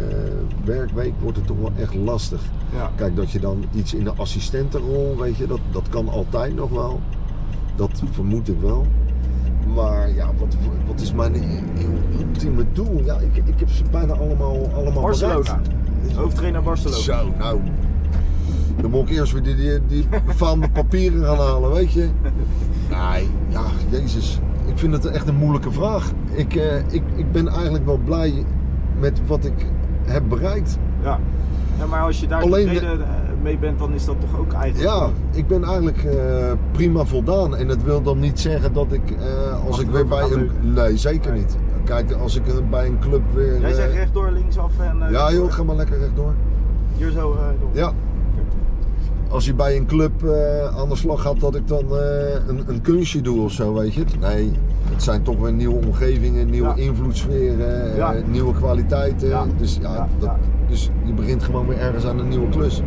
S3: werkweek wordt het toch wel echt lastig.
S1: Ja.
S3: Kijk, dat je dan iets in de assistentenrol, weet je, dat, dat kan altijd nog wel. Dat vermoed ik wel. Maar ja, wat, wat is mijn ultieme doel? Ja, ik, ik heb ze bijna allemaal, allemaal
S1: Barcelona.
S3: bereikt.
S1: Hoofdtrainer Barcelona.
S3: Zo, nou. Dan moet ik eerst weer die, die, die
S1: *laughs*
S3: befaamde papieren gaan halen, weet je. Nee, ja, jezus. Ik vind het echt een moeilijke vraag. Ik, eh, ik, ik ben eigenlijk wel blij met wat ik heb bereikt.
S1: Ja. ja, maar als je daar
S3: Alleen de-
S1: tevreden eh, mee bent, dan is dat toch ook eigenlijk...
S3: Ja, ik ben eigenlijk eh, prima voldaan. En dat wil dan niet zeggen dat ik, eh, als ik weer bij
S1: Achterover
S3: een...
S1: gaat
S3: Nee, zeker
S1: Nee.
S3: niet. Kijk, als ik eh, bij een club weer...
S1: Jij
S3: eh,
S1: zegt rechtdoor, linksaf en... eh,
S3: Ja joh,
S1: rechtdoor.
S3: ga maar lekker rechtdoor.
S1: Hier zo eh, door.
S3: Ja. Als je bij een club eh, aan de slag gaat, dat ik dan eh, een, een kunstje doe of zo, weet je. Nee, het zijn toch weer nieuwe omgevingen, nieuwe
S1: Ja.
S3: invloedssferen, eh,
S1: Ja.
S3: nieuwe kwaliteiten.
S1: Ja.
S3: Dus, ja,
S1: Ja,
S3: dat,
S1: ja.
S3: dus je begint gewoon weer ergens aan een nieuwe klus.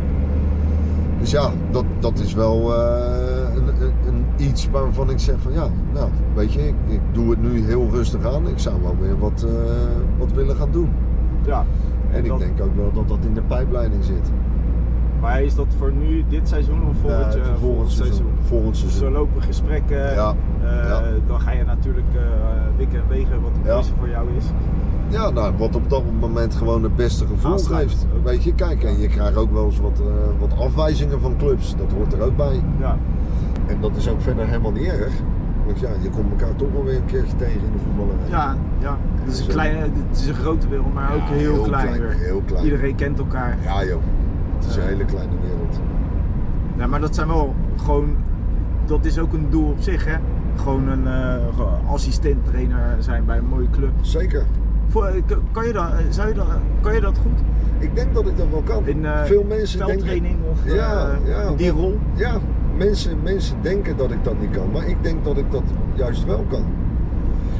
S3: Dus ja, dat, dat is wel eh, een, een, een iets waarvan ik zeg van ja, nou weet je, ik, ik doe het nu heel rustig aan. Ik zou wel weer wat, eh, wat willen gaan doen.
S1: Ja.
S3: En, ik
S1: dat-
S3: denk ook wel dat dat in de pijpleiding zit.
S1: Maar is dat voor nu, dit seizoen of volgend,
S3: Ja,
S1: eh,
S3: het volgend seizoen. Volgend
S1: Dus
S3: seizoen.
S1: er lopen gesprekken.
S3: Ja,
S1: eh,
S3: ja.
S1: Dan ga je natuurlijk eh wikken en wegen wat het
S3: Ja.
S1: beste voor jou is.
S3: Ja, nou, wat op dat moment gewoon het beste gevoel
S1: Aansluit.
S3: geeft. Weet je, kijk, en je krijgt ook wel eens wat, eh, wat afwijzingen van clubs. Dat hoort er ook bij.
S1: Ja.
S3: En dat is ook verder helemaal niet erg. Want ja, je komt elkaar toch wel weer een keertje tegen in de voetballerij.
S1: Ja, ja. Het is een,
S3: Zo.
S1: kleine, het is een grote wereld, maar ook
S3: Ja,
S1: heel, klein, weer.
S3: Heel klein.
S1: Iedereen kent elkaar.
S3: Ja joh, het is een
S1: Ja.
S3: hele kleine wereld.
S1: Ja, maar dat zijn wel gewoon, dat is ook een doel op zich hè. Gewoon een eh, gewoon assistent trainer zijn bij een mooie club.
S3: Zeker.
S1: Voor, eh, k- kan, je dat, eh, zou je dat, kan je dat goed?
S3: Ik denk dat ik dat wel kan.
S1: In eh,
S3: Veel mensen denken...
S1: veldtraining of eh,
S3: Ja, ja.
S1: die rol?
S3: Ja, mensen, mensen denken dat ik dat niet kan, maar ik denk dat ik dat juist wel kan.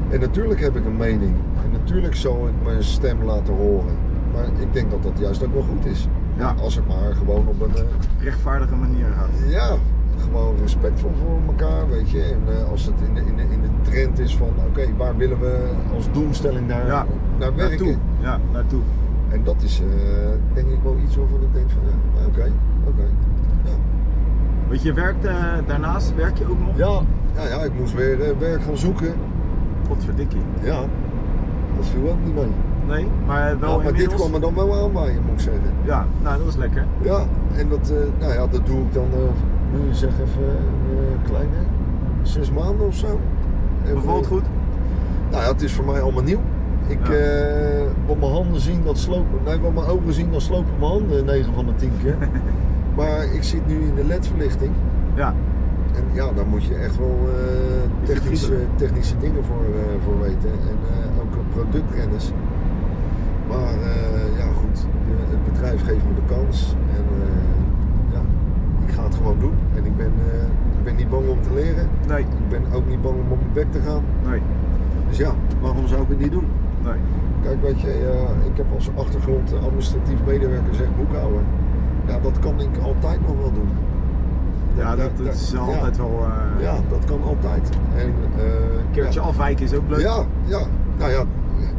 S3: En natuurlijk heb ik een mening. En natuurlijk zal ik mijn stem laten horen. Maar ik denk dat dat juist ook wel goed is.
S1: Ja.
S3: Als het maar gewoon op een. eh,
S1: Rechtvaardige manier gaat.
S3: ja, gewoon respectvol voor elkaar, weet je. En eh, als het in de, in, de, in de trend is van, oké, waar willen we als doelstelling naar,
S1: Ja,
S3: naar werken?
S1: Naartoe. Ja, naartoe.
S3: En dat is eh, denk ik wel iets waarvan ik denk van, ja, oké, oké. Ja.
S1: Want je werkt eh, daarnaast, werk je ook nog?
S3: Ja, ja, ja, ik moest weer eh, werk gaan zoeken.
S1: Potverdikkie.
S3: Ja, dat viel ook niet mee.
S1: Nee, maar wel
S3: Ja, maar dit
S1: inmiddels.
S3: kwam er dan wel aan bij, moet ik zeggen.
S1: Ja, nou dat is lekker.
S3: Ja, en dat, eh, nou ja, dat doe ik dan, eh, nu zeg even, eh, kleine zes maanden of zo. En,
S1: Bevalt
S3: eh,
S1: goed?
S3: Nou ja, het is voor mij allemaal nieuw. Ik,
S1: Ja.
S3: eh, wat mijn handen zien, dat slopen. Nee, wat mijn ogen zien, dan slopen mijn handen 9 van de 10
S1: *laughs*
S3: keer. maar ik zit nu in de ledverlichting.
S1: Ja.
S3: En ja, daar moet je echt wel eh, technische,
S1: verdiepen.
S3: technische dingen voor, eh, voor weten. En eh, ook productkennis. Maar eh, ja, goed. de- het bedrijf geeft me de kans. En eh, ja, ik ga het gewoon doen. En ik ben, eh, ik ben niet bang om te leren.
S1: Nee,
S3: Ik ben ook niet bang om op mijn bek te gaan.
S1: nee,
S3: Dus ja, waarom zou ik het niet doen?
S1: nee.
S3: Kijk, weet je, eh, ik heb als achtergrond eh, administratief medewerker, zeg boekhouder. Ja, dat kan ik altijd nog wel doen.
S1: Ja,
S3: Daar-
S1: dat, dat
S3: daar-
S1: is
S3: ja.
S1: altijd wel... eh,
S3: Ja, dat kan altijd. En, eh,
S1: Een keertje
S3: ja.
S1: afwijken is ook leuk.
S3: Ja, ja. Nou ja,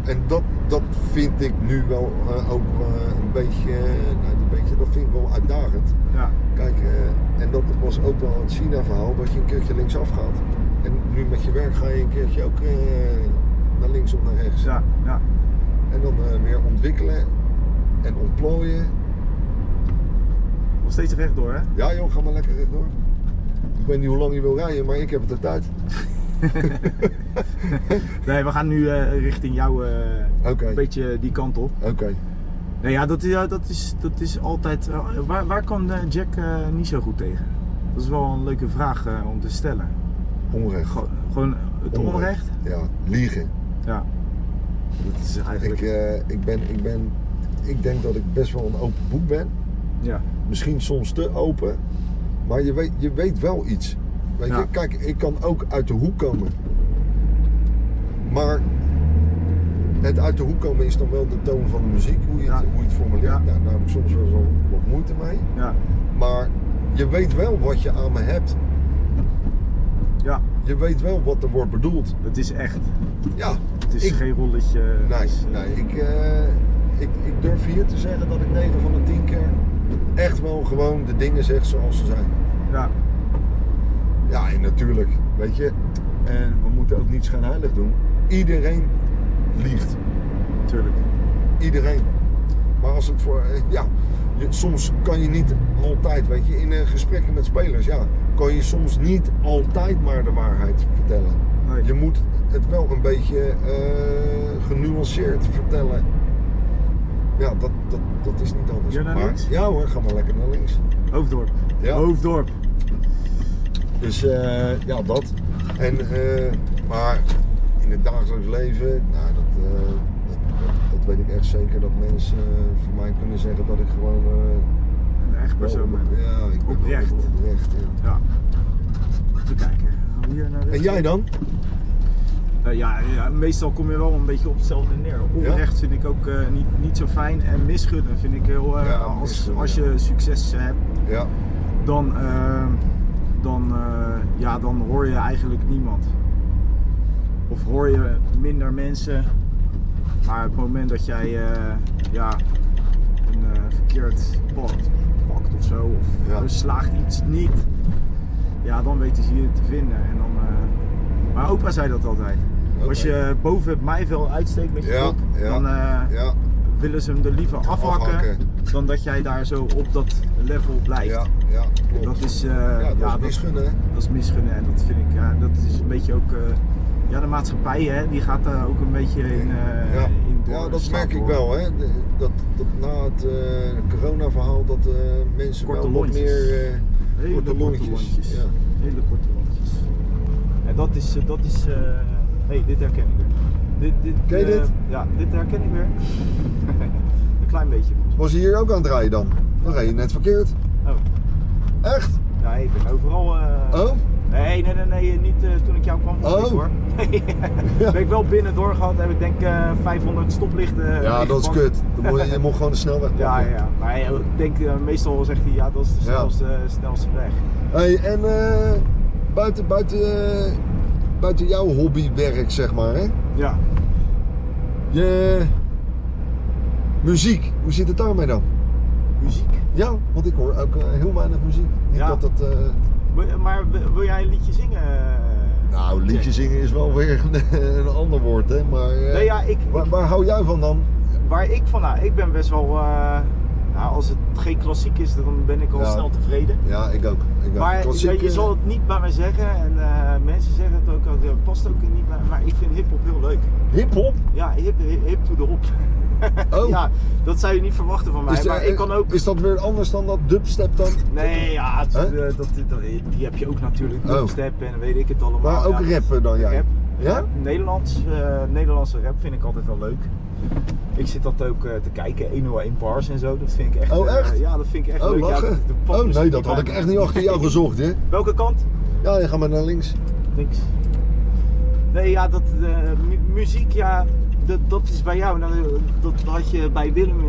S3: en dat, dat vind ik nu wel eh, ook eh, een beetje, eh, nou, een beetje, dat vind ik wel uitdagend.
S1: Ja.
S3: Kijk, eh, en dat was ook wel het China-verhaal, dat je een keertje linksaf gaat. En nu met je werk ga je een keertje ook eh, naar links of naar rechts.
S1: Ja, ja.
S3: En dan eh, weer ontwikkelen en ontplooien.
S1: Nog steeds rechtdoor, hè?
S3: Ja joh, ga maar lekker rechtdoor. Ik weet niet hoe lang je wil rijden, maar ik heb het er tijd.
S1: Nee, we gaan nu eh, richting jou eh,
S3: Oké.
S1: een beetje die kant op.
S3: Oké.
S1: Nee, ja, dat, is- ja, dat, is, dat is altijd... eh, waar, waar kan eh, Jack eh, niet zo goed tegen? Dat is wel een leuke vraag eh, om te stellen.
S3: Onrecht.
S1: Gewoon, gewoon het onrecht.
S3: Ja, liegen.
S1: Ja. Dat is eigenlijk...
S3: Ik, eh, ik, ben, ik, ben, ik denk dat ik best wel een open boek ben.
S1: Ja.
S3: Misschien soms te open. Maar je weet, je weet wel iets. Weet
S1: Ja.
S3: je? Kijk, ik kan ook uit de hoek komen. Maar het uit de hoek komen is dan wel de toon van de muziek, hoe je het,
S1: Ja.
S3: hoe je het formuleert.
S1: Ja.
S3: Nou, daar heb ik soms wel zo wat moeite mee.
S1: Ja.
S3: Maar je weet wel wat je aan me hebt.
S1: Ja.
S3: Je weet wel wat er wordt bedoeld.
S1: Het is echt.
S3: Ja,
S1: Het is
S3: Ik-
S1: geen rolletje. het
S3: nee,
S1: is, eh,
S3: nee ik, eh, ik, ik durf hier te zeggen dat ik 9 van de 10 keer echt wel gewoon de dingen zeg zoals ze zijn.
S1: eh, Ja.
S3: Ja, en natuurlijk, weet je, en we moeten ook niet schijnheilig doen. Iedereen liegt.
S1: Tuurlijk.
S3: Iedereen. Maar als het voor, eh, ja, je- soms kan je niet altijd, weet je, in eh, gesprekken met spelers, ja, kan je soms niet altijd maar de waarheid vertellen.
S1: Nee.
S3: Je moet het wel een beetje eh, genuanceerd vertellen. Ja, dat, dat, dat is niet anders.
S1: Ja, naar
S3: Maar-
S1: links?
S3: Ja hoor, ga maar lekker naar links.
S1: Hoofddorp.
S3: Ja.
S1: Hoofddorp.
S3: Dus eh, ja, dat. En, eh, maar in het dagelijks leven, nou, dat, eh, dat, dat, dat weet ik echt zeker dat mensen eh, van mij kunnen zeggen dat ik gewoon. eh,
S1: Een echt
S3: wel
S1: persoon.
S3: op-
S1: bent.
S3: ja, ik ben wel
S1: Oprecht.
S3: oprecht ja.
S1: Ja. Even kijken. Hier naar rechts.
S3: En jij dan?
S1: Eh, ja, ja, meestal kom je wel een beetje op hetzelfde neer. Onrecht vind ik ook eh, niet, niet zo fijn. En misgunnen vind ik heel... eh,
S3: Ja,
S1: als,
S3: misgunnen,
S1: als
S3: ja.
S1: je succes hebt,
S3: Ja,
S1: dan, eh, dan, eh, ja, dan hoor je eigenlijk niemand. Of hoor je minder mensen. Maar het moment dat jij eh, ja, een eh, verkeerd pad pakt of zo, of
S3: Ja.
S1: er slaagt iets niet, ja, dan weten ze je te vinden. En dan, eh, maar opa zei dat altijd.
S3: Oké.
S1: Als je boven het mijvel uitsteekt met je
S3: Ja,
S1: kop,
S3: ja,
S1: dan eh,
S3: ja,
S1: willen ze hem er liever afhakken,
S3: Afhakken.
S1: dan dat jij daar zo op dat level blijft.
S3: ja, ja, klopt.
S1: Dat is, eh,
S3: ja, dat
S1: ja,
S3: is misgunnen, hè?
S1: dat is misgunnen en dat vind ik, ja, dat is een beetje ook, eh, ja, de maatschappij, hè, die gaat daar ook een beetje in, eh,
S3: ja.
S1: in door-
S3: ja, dat
S1: slaap
S3: merk ik
S1: door.
S3: wel. Hè? De- Dat, dat na het eh, corona-verhaal dat eh, mensen
S1: Korte
S3: wel wat
S1: lontjes.
S3: meer eh,
S1: Hele
S3: korte lontjes. Ja.
S1: Hele korte lontjes. En dat is, eh, dat is, eh, hey, dit herken ik weer. Dit, dit,
S3: Ken je
S1: eh,
S3: dit?
S1: Ja, dit herken ik weer. *laughs* een klein beetje.
S3: Was je hier ook aan het rijden dan? Dan reed je net verkeerd.
S1: Oh,
S3: Echt?
S1: nee, ik ben overal... eh,
S3: Oh?
S1: Nee, nee, nee, nee, niet eh, toen ik jou kwam.
S3: Oh.
S1: hoor. *laughs*
S3: *laughs*
S1: Nee. ben ik wel binnen doorgehad, heb ik denk eh 500 stoplichten. eh,
S3: Ja, dat is
S1: ingepakt.
S3: kut. Dan moet je, je moet gewoon de snelweg pakken.
S1: *laughs* Ja, ja. Maar ja, ik denk, eh, meestal zegt hij, ja, dat is de
S3: Ja.
S1: snelste, eh, snelste weg.
S3: Hey, en eh, buiten, buiten, eh, buiten jouw hobbywerk, zeg maar, hè?
S1: Ja.
S3: Je muziek, hoe zit het daarmee dan?
S1: Muziek.
S3: Ja, want ik hoor ook eh, heel weinig muziek. Niet
S1: Ja.
S3: dat dat... eh,
S1: Wil- Maar wil wil jij een liedje zingen?
S3: Nou, liedje zingen is wel weer een, *laughs* een ander woord, hè? Maar, eh,
S1: Nee, ja, ik,
S3: waar, waar hou jij van dan?
S1: waar ik van, nou, ik ben best wel, eh, nou, als het geen klassiek is, dan ben ik al
S3: Ja.
S1: snel tevreden.
S3: Ja, ik ook. Ik ook.
S1: Maar
S3: Klassiek,
S1: je, je
S3: eh,
S1: zal het niet bij mij zeggen en eh, mensen zeggen het ook, al, dat past ook niet bij Maar ik vind hip-hop heel leuk.
S3: Hip-hop?
S1: Ja, hip, hip, hip to the hop. *laughs*
S3: Oh.
S1: ja, dat zou je niet verwachten van mij.
S3: Is,
S1: maar
S3: er-
S1: ik kan ook.
S3: is dat weer anders dan dat dubstep dan?
S1: Nee, ja, het-
S3: Huh?
S1: eh, dat, dat- dat- die heb je ook natuurlijk.
S3: Oh.
S1: Dubstep en weet ik het allemaal.
S3: Maar ook
S1: Ja,
S3: rappen dan jij?
S1: Rap,
S3: Ja?
S1: rap, Nederlands, eh, Nederlandse rap vind ik altijd wel leuk. Ik zit dat ook eh, te kijken, 101 bars en zo. Dat vind ik echt.
S3: Oh,
S1: eh,
S3: echt?
S1: ja, dat vind ik echt
S3: Oh,
S1: leuk. Ja,
S3: lachen.
S1: dat- dat past
S3: oh, nee,
S1: misschien
S3: dat had
S1: bij
S3: ik
S1: me.
S3: echt niet achter jou gezocht, hè?
S1: Welke kant?
S3: Ja, je gaat maar naar links.
S1: Niks. Nee, ja, dat eh, mu- muziek, ja, dat, dat is bij jou. Nou, dat had je bij Willem eh,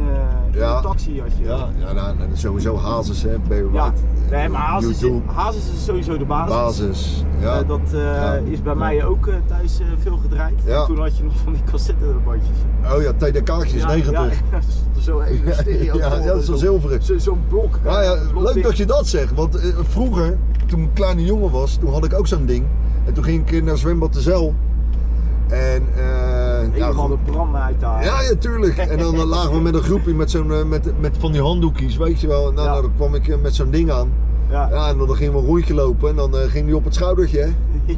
S1: in
S3: Ja.
S1: de taxi. Had je,
S3: Ja, ja nou, nou, sowieso Hazes, hè? Barry
S1: Ja,
S3: White,
S1: nee, maar Hazes is,
S3: YouTube,
S1: Hazes is sowieso de basis.
S3: Basis. Ja.
S1: Eh, dat eh,
S3: Ja.
S1: is bij mij ook eh, thuis eh, veel gedraaid.
S3: Ja.
S1: Toen had je nog van die cassettebandjes.
S3: Oh ja, TDK'tjes, 90.
S1: Ja, *laughs* er stond er zo even stereo.
S3: Ja,
S1: voor,
S3: ja, zo'n zilveren.
S1: zo- Zo'n blok.
S3: Ja, ja,
S1: eh, blok
S3: leuk
S1: dik.
S3: dat je dat zegt, want eh, vroeger, toen ik een kleine jongen was, toen had ik ook zo'n ding. En toen ging ik een keer naar Zwembad de Zeil. En, eh, nou,
S1: Helemaal
S3: goed.
S1: de brand uit daar.
S3: Ja, ja, tuurlijk. En dan eh, lagen we met een groepje met, zo'n, eh, met, met van die handdoekjes, weet je wel. En dan,
S1: Ja.
S3: dan kwam ik eh, met zo'n ding aan.
S1: Ja.
S3: Ja, en dan, dan gingen we een rondje lopen en dan eh, ging die op het schoudertje. hè.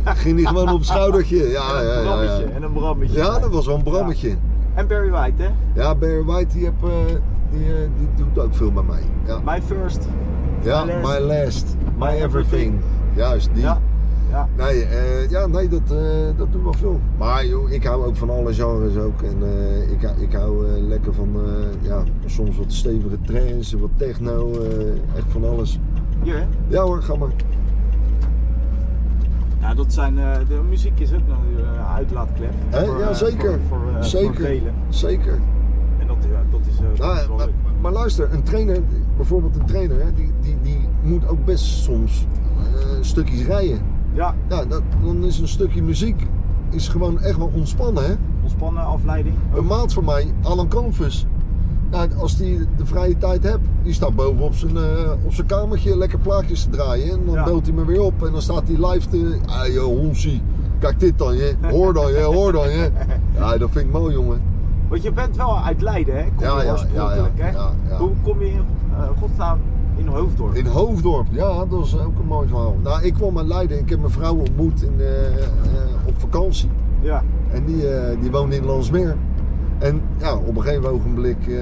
S1: Ja,
S3: Ging die gewoon op het schoudertje. Ja,
S1: een
S3: ja, ja.
S1: brammetje.
S3: Ja,
S1: En een brammetje.
S3: ja dat was wel een brammetje. Ja,
S1: En Barry White, hè?
S3: Barry White, die, heb, eh, die, eh, die doet ook veel bij mij. Ja,
S1: My first.
S3: ja
S1: my
S3: my,
S1: last.
S3: last, my
S1: My
S3: everything. Juist, die.
S1: Ja. Ja.
S3: Nee, eh, ja, nee dat, eh dat doet wel veel. Maar joh, ik hou ook van alle genres ook. En eh, ik, hou- ik hou eh, lekker van eh, ja, soms wat stevige trance, wat techno, eh, echt van alles.
S1: Hier, hè?
S3: Ja hoor, ga maar.
S1: Ja, Ja, dat zijn, eh, de muziek is ook natuurlijk een uitlaatklep.
S3: Hè?
S1: Voor,
S3: ja,
S1: eh,
S3: zeker.
S1: Voor, voor, eh,
S3: zeker.
S1: voor velen.
S3: Zeker.
S1: En dat, ja, dat is, eh, dat
S3: Nou,
S1: is
S3: eh,
S1: wel
S3: maar,
S1: leuk.
S3: maar luister, een trainer, bijvoorbeeld een trainer, hè, die, die, die moet ook best soms eh, stukjes rijden.
S1: Ja,
S3: Ja, dat, dan is een stukje muziek is gewoon echt wel ontspannen. Hè?
S1: ontspannen, afleiding. Oh,
S3: Een maat van mij, Alan Canvas. Ja, als die de vrije tijd hebt, die staat boven op zijn, eh, op zijn kamertje lekker plaatjes te draaien. En dan
S1: Ja.
S3: belt hij me weer op en dan staat hij live te... Ah joh, honsie. Kijk dit dan, je. Hoor dan, je. Hoor dan,
S1: *laughs*
S3: je. Ja, dat vind ik mooi, jongen.
S1: Want je bent wel uit Leiden, hè? Kom je
S3: Ja, ja,
S1: oorspronkelijk,
S3: ja,
S1: hè?
S3: ja, ja, ja.
S1: Hoe kom je in eh, godsnaam in Hoofddorp?
S3: In Hoofddorp, ja, dat is ook een mooi verhaal. Nou, ik kwam uit Leiden. Ik heb mijn vrouw ontmoet in, eh, eh, op vakantie.
S1: Ja,
S3: En die, eh, die woonde in Landsmeer. En ja, op een gegeven ogenblik eh,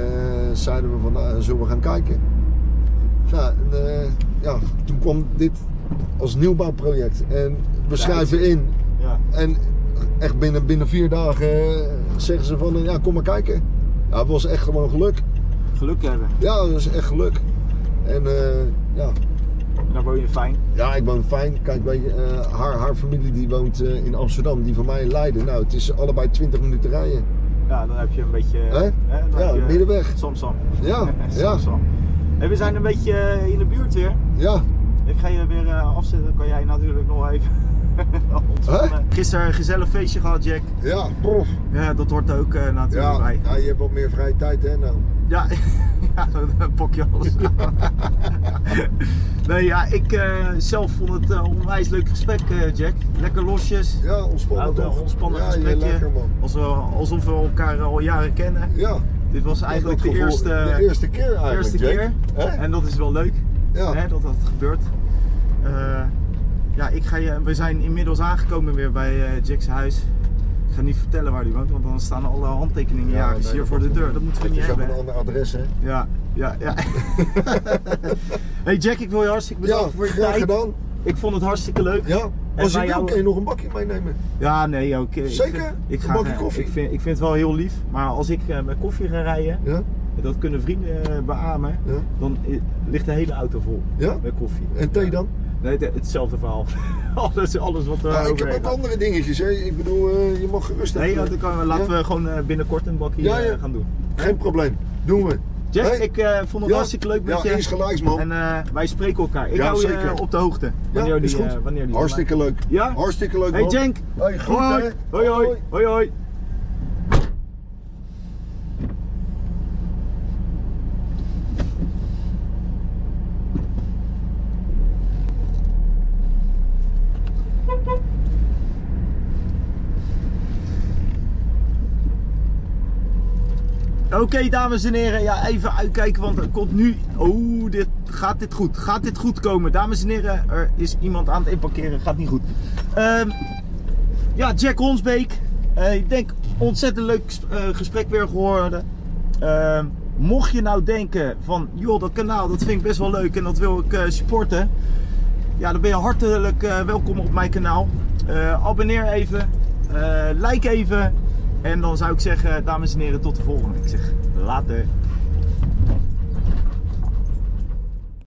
S3: zeiden we van, nou, zullen we gaan kijken? Nou, en, eh, ja, toen kwam dit als nieuwbouwproject. En we schrijven in.
S1: ja.
S3: En echt binnen, binnen vier dagen eh, zeggen ze van, ja, kom maar kijken. Ja, het was echt gewoon geluk.
S1: Geluk hebben.
S3: Ja, het was echt geluk. En eh, ja,
S1: En daar woon je fijn.
S3: ja, ik woon fijn. Kijk, weet je, eh, haar, haar familie die woont eh, in Amsterdam, die van mij in Leiden. Nou, het is allebei 20 minuten rijden.
S1: Ja, dan heb je een beetje...
S3: Hè?
S1: Hè? Dan
S3: Ja,
S1: heb je-
S3: middenweg.
S1: Samsam. *laughs*
S3: Ja, ja,
S1: Samsam. Hey, we zijn een beetje eh, in de buurt weer.
S3: ja.
S1: Ik ga je weer eh, afzetten. Kan jij natuurlijk nog even
S3: *laughs*
S1: ontspannen. Eh, Gisteren een gezellig feestje gehad, Jack.
S3: Ja, prof.
S1: Ja, dat hoort ook eh, natuurlijk
S3: Ja,
S1: bij.
S3: ja, je hebt wat meer vrije tijd, hè? Nou.
S1: Ja, *laughs* ja dan pak je alles *laughs* aan. nee, ja, ik eh, zelf vond het eh, onwijs leuk gesprek, eh, Jack. Lekker losjes.
S3: Ja, ontspannen
S1: Ook wel
S3: toch?
S1: ontspannen
S3: ja,
S1: gesprekje.
S3: Ja, lekker man.
S1: Als we- alsof we elkaar al jaren kennen.
S3: Ja,
S1: Dit was eigenlijk
S3: dat
S1: de
S3: gevoel-
S1: eerste, eh,
S3: de eerste keer eigenlijk,
S1: eerste
S3: Jack.
S1: keer.
S3: Hè?
S1: En dat is wel leuk
S3: Ja.
S1: hè, dat dat gebeurt. Eh, ja, ik ga je, we zijn inmiddels aangekomen weer bij eh, Jack's huis. Ik ga niet vertellen waar die woont, want dan staan alle handtekeningen
S3: Ja,
S1: jagers
S3: nee,
S1: hier
S3: dat
S1: voor de
S3: mag
S1: deur. Dat moeten we niet
S3: Het is ook
S1: hebben.
S3: een ander adres, hè?
S1: Ja, ja,
S3: *laughs*
S1: ja. hey Jack, ik wil je hartstikke bedanken voor je
S3: graag
S1: tijd.
S3: gedaan.
S1: Ik vond het hartstikke leuk.
S3: Ja, als je
S1: wij
S3: wil
S1: jou-
S3: kun je nog een bakje meenemen.
S1: Ja, nee, oké. Ik
S3: Zeker?
S1: vind- Ik,
S3: Een
S1: ga,
S3: bakje
S1: eh,
S3: koffie?
S1: Ik vind, ik vind het wel heel lief, maar als ik eh, met koffie ga rijden,
S3: Ja,
S1: dat kunnen vrienden eh, beamen,
S3: ja,
S1: dan eh, ligt de hele auto vol
S3: ja.
S1: met koffie.
S3: En thee dan?
S1: Nee, het- hetzelfde verhaal. *laughs* alles, alles wat er
S3: Ja, ik heb
S1: overheen
S3: ook
S1: gaat.
S3: andere dingetjes, hè? Ik bedoel, eh, je mag gerust
S1: Nee,
S3: even-
S1: dat kan, laten we gewoon eh, binnenkort een bakje
S3: Ja, ja.
S1: eh, gaan doen.
S3: Geen probleem. Doen we.
S1: Jack,
S3: Hey.
S1: ik eh, vond het
S3: Ja.
S1: hartstikke leuk met
S3: Ja,
S1: je.
S3: eens gelijks, man.
S1: En eh, wij spreken elkaar. Ik
S3: Ja,
S1: hou je eh,
S3: zeker.
S1: op de hoogte. Wanneer
S3: is
S1: die,
S3: goed.
S1: eh, wanneer die
S3: Hartstikke leuk.
S1: Ja?
S3: Hartstikke leuk,
S1: Hey
S3: man.
S1: Jenk.
S3: Hey, groeten.
S1: Hoi. Hoi, hoi. Hoi, hoi. Oké, dames en heren. Ja, even uitkijken, want er komt nu... Oh, dit, gaat dit goed? Gaat dit goed komen? Dames en heren, er is iemand aan het inparkeren. Gaat niet goed. Ehm, ja, Jack Honsbeek. Eh, ik denk ontzettend leuk ges- eh, gesprek weer geworden. Ehm, mocht je nou denken van, joh, dat kanaal, dat vind ik best wel leuk en dat wil ik eh, supporten. Ja, dan ben je hartelijk eh, welkom op mijn kanaal. Eh, abonneer even, eh, like even. En dan zou ik zeggen, dames en heren, tot de volgende. Ik zeg later.